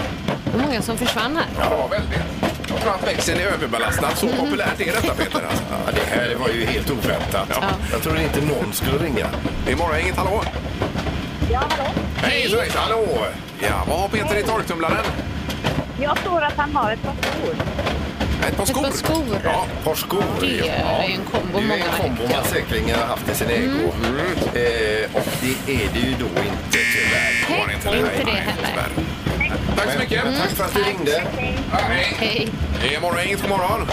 Speaker 5: det var många som försvann här.
Speaker 4: Ja, väldigt. Jag tror att växeln är överbelastad. Så populärt är detta, Peter. Alltså.
Speaker 7: Ja, det här var ju helt oväntat.
Speaker 4: Ja.
Speaker 7: Jag trodde inte någon skulle ringa.
Speaker 4: Det är Morgongänget. Hallå?
Speaker 2: Ja, hallå?
Speaker 4: Hej, så hejsan.
Speaker 7: Hallå!
Speaker 4: Ja, vad har Peter i torktumlaren?
Speaker 2: Jag tror att han har ett par skor.
Speaker 4: Ett par skor.
Speaker 5: par skor.
Speaker 4: Ja.
Speaker 7: Porskor.
Speaker 5: Det är ju en kombo
Speaker 7: Det är en
Speaker 5: många Mm.
Speaker 7: kombo man säkerligen har haft i sin ägo. Eh, och det är det ju då inte tyvärr.
Speaker 4: det var inte
Speaker 5: Inte
Speaker 4: Nej,
Speaker 5: det
Speaker 4: nej,
Speaker 5: heller.
Speaker 4: tyvärr. Tack så mycket.
Speaker 7: Men Tack för att du
Speaker 5: Mm.
Speaker 7: ringde.
Speaker 4: Ja, Mm. Hej.
Speaker 5: Hej.
Speaker 4: Det är Morgongänget. God morgon.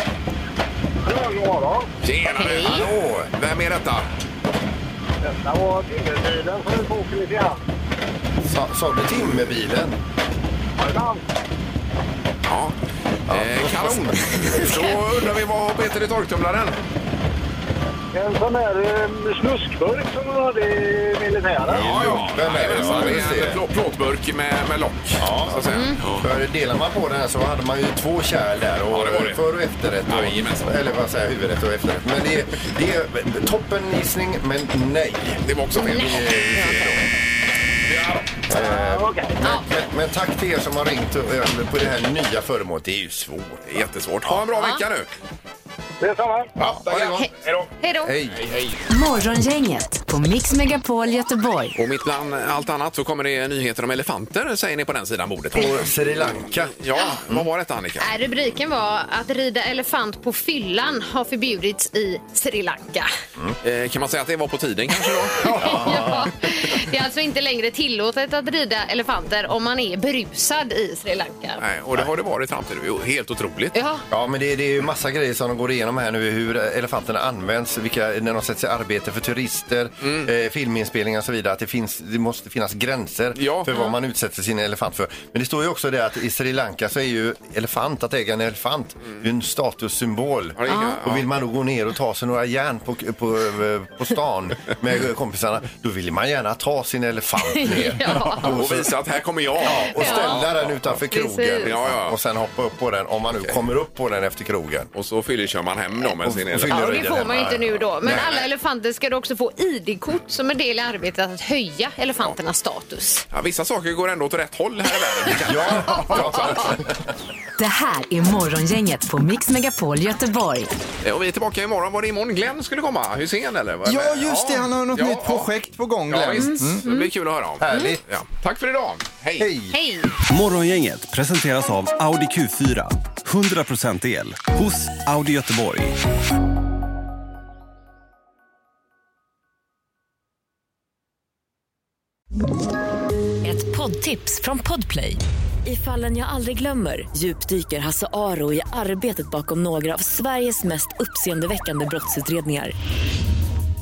Speaker 1: Ja, god morgon.
Speaker 4: Tjena du.
Speaker 5: Hej.
Speaker 4: Hallå. Vem är detta?
Speaker 1: Detta var Dingeltiden som vi får åka lite grann.
Speaker 7: Sa, sa du timmerbilen?
Speaker 1: Jajamän.
Speaker 4: Ja. Eh, kanon. Då undrar vi vad har Peter i torktumlaren?
Speaker 1: En sån här eh, snuskburk som man hade i militären.
Speaker 4: Ja, ja.
Speaker 7: Vem är det?
Speaker 4: Jajamensan,
Speaker 7: Ja,
Speaker 4: det
Speaker 7: Mm. just
Speaker 4: är en
Speaker 7: det.
Speaker 4: plå- plåtburk med, med lock. Ja, så att säga. Ja.
Speaker 7: För delar man på den här så hade man ju två kärl där. Och
Speaker 4: Ja, det var det.
Speaker 7: För och efterrätt.
Speaker 4: Ja, jajamensan.
Speaker 7: Och, eller vad säger jag, huvudrätt och efterrätt. Men det är, det är toppen gissning, men nej.
Speaker 4: Det var också fel. Ja.
Speaker 7: Eh,
Speaker 1: Okej.
Speaker 7: men, men tack till er som har ringt och- eh, på det här nya föremålet. Det är ju svårt.
Speaker 4: Det är Jättesvårt. Ha en bra vecka nu.
Speaker 1: Detsamma.
Speaker 4: Ja,
Speaker 7: ha det gott.
Speaker 4: Hej då.
Speaker 5: Hej då.
Speaker 7: Hej!
Speaker 3: Morgongänget på Mix Megapol Göteborg.
Speaker 4: Och mitt bland allt annat så kommer det nyheter om elefanter, säger ni på den sidan bordet.
Speaker 7: På Sri Lanka.
Speaker 4: Ja, vad var detta Annika?
Speaker 5: Nej, Rubriken var att rida elefant på fyllan har förbjudits i Sri Lanka.
Speaker 6: Äh.
Speaker 4: Eh, kan man säga att det var på tiden kanske då?
Speaker 5: Ja. Det är alltså inte längre tillåtet att rida elefanter om man är berusad i Sri Lanka.
Speaker 4: Nej, och det har det varit fram till nu. Helt otroligt.
Speaker 5: Ja,
Speaker 7: Ja, men det, det är ju massa grejer som de går igenom här nu. Hur elefanterna används, vilka, när de sätts i arbete för turister,
Speaker 4: Mm.
Speaker 7: eh, filminspelningar och så vidare. Att det, finns, det måste finnas gränser
Speaker 4: Ja.
Speaker 7: för vad man utsätter sin elefant för. Men det står ju också det att i Sri Lanka så är ju elefant, att äga en elefant, det är en statussymbol.
Speaker 4: Mm. Ja, det är- ja.
Speaker 7: Och vill man då gå ner och ta sig några järn på, på, eh, på stan med kompisarna, då vill man gärna ta sin elefant ner.
Speaker 5: Ja.
Speaker 4: Och visa att här kommer jag.
Speaker 7: Och ställa den utanför krogen
Speaker 5: Precis.
Speaker 4: Ja, ja.
Speaker 7: och sen hoppa upp på den om man nu kommer upp på den efter krogen.
Speaker 4: Och så fyller man hem dem med
Speaker 7: Och-
Speaker 4: sin
Speaker 7: och
Speaker 4: elefant.
Speaker 7: fyller
Speaker 5: Ja,
Speaker 7: Ja,
Speaker 5: och det
Speaker 7: rida
Speaker 5: får
Speaker 7: den
Speaker 5: man ju
Speaker 7: här.
Speaker 5: inte nu då. Men
Speaker 7: Nej,
Speaker 5: alla
Speaker 7: nej.
Speaker 5: elefanter ska då också få ID-kort som en del i arbetet att höja elefanternas status.
Speaker 4: Ja, vissa saker går ändå åt rätt håll här i världen.
Speaker 7: Ja,
Speaker 3: Det här är Morgongänget på Mix Megapol Göteborg.
Speaker 4: Eh, Och vi är tillbaka imorgon. Var det imorgon Glenn skulle komma? Hussein eller? Vad-
Speaker 6: Ja, just det. Han har något
Speaker 4: Ja,
Speaker 6: nytt
Speaker 4: ja.
Speaker 6: projekt på gång,
Speaker 4: Ja,
Speaker 6: Glenn.
Speaker 4: visst.
Speaker 11: Mm.
Speaker 4: Det blir kul att höra om.
Speaker 7: Härligt.
Speaker 4: Ja. Tack för idag. Hej.
Speaker 7: Hej!
Speaker 5: Hej!
Speaker 10: Morgongänget presenteras av Audi Q4. 100% el hos Audi Göteborg.
Speaker 12: Ett poddtips från Podplay. I fallen jag aldrig glömmer djupdyker Hasse Aro i arbetet bakom några av Sveriges mest uppseendeväckande brottsutredningar.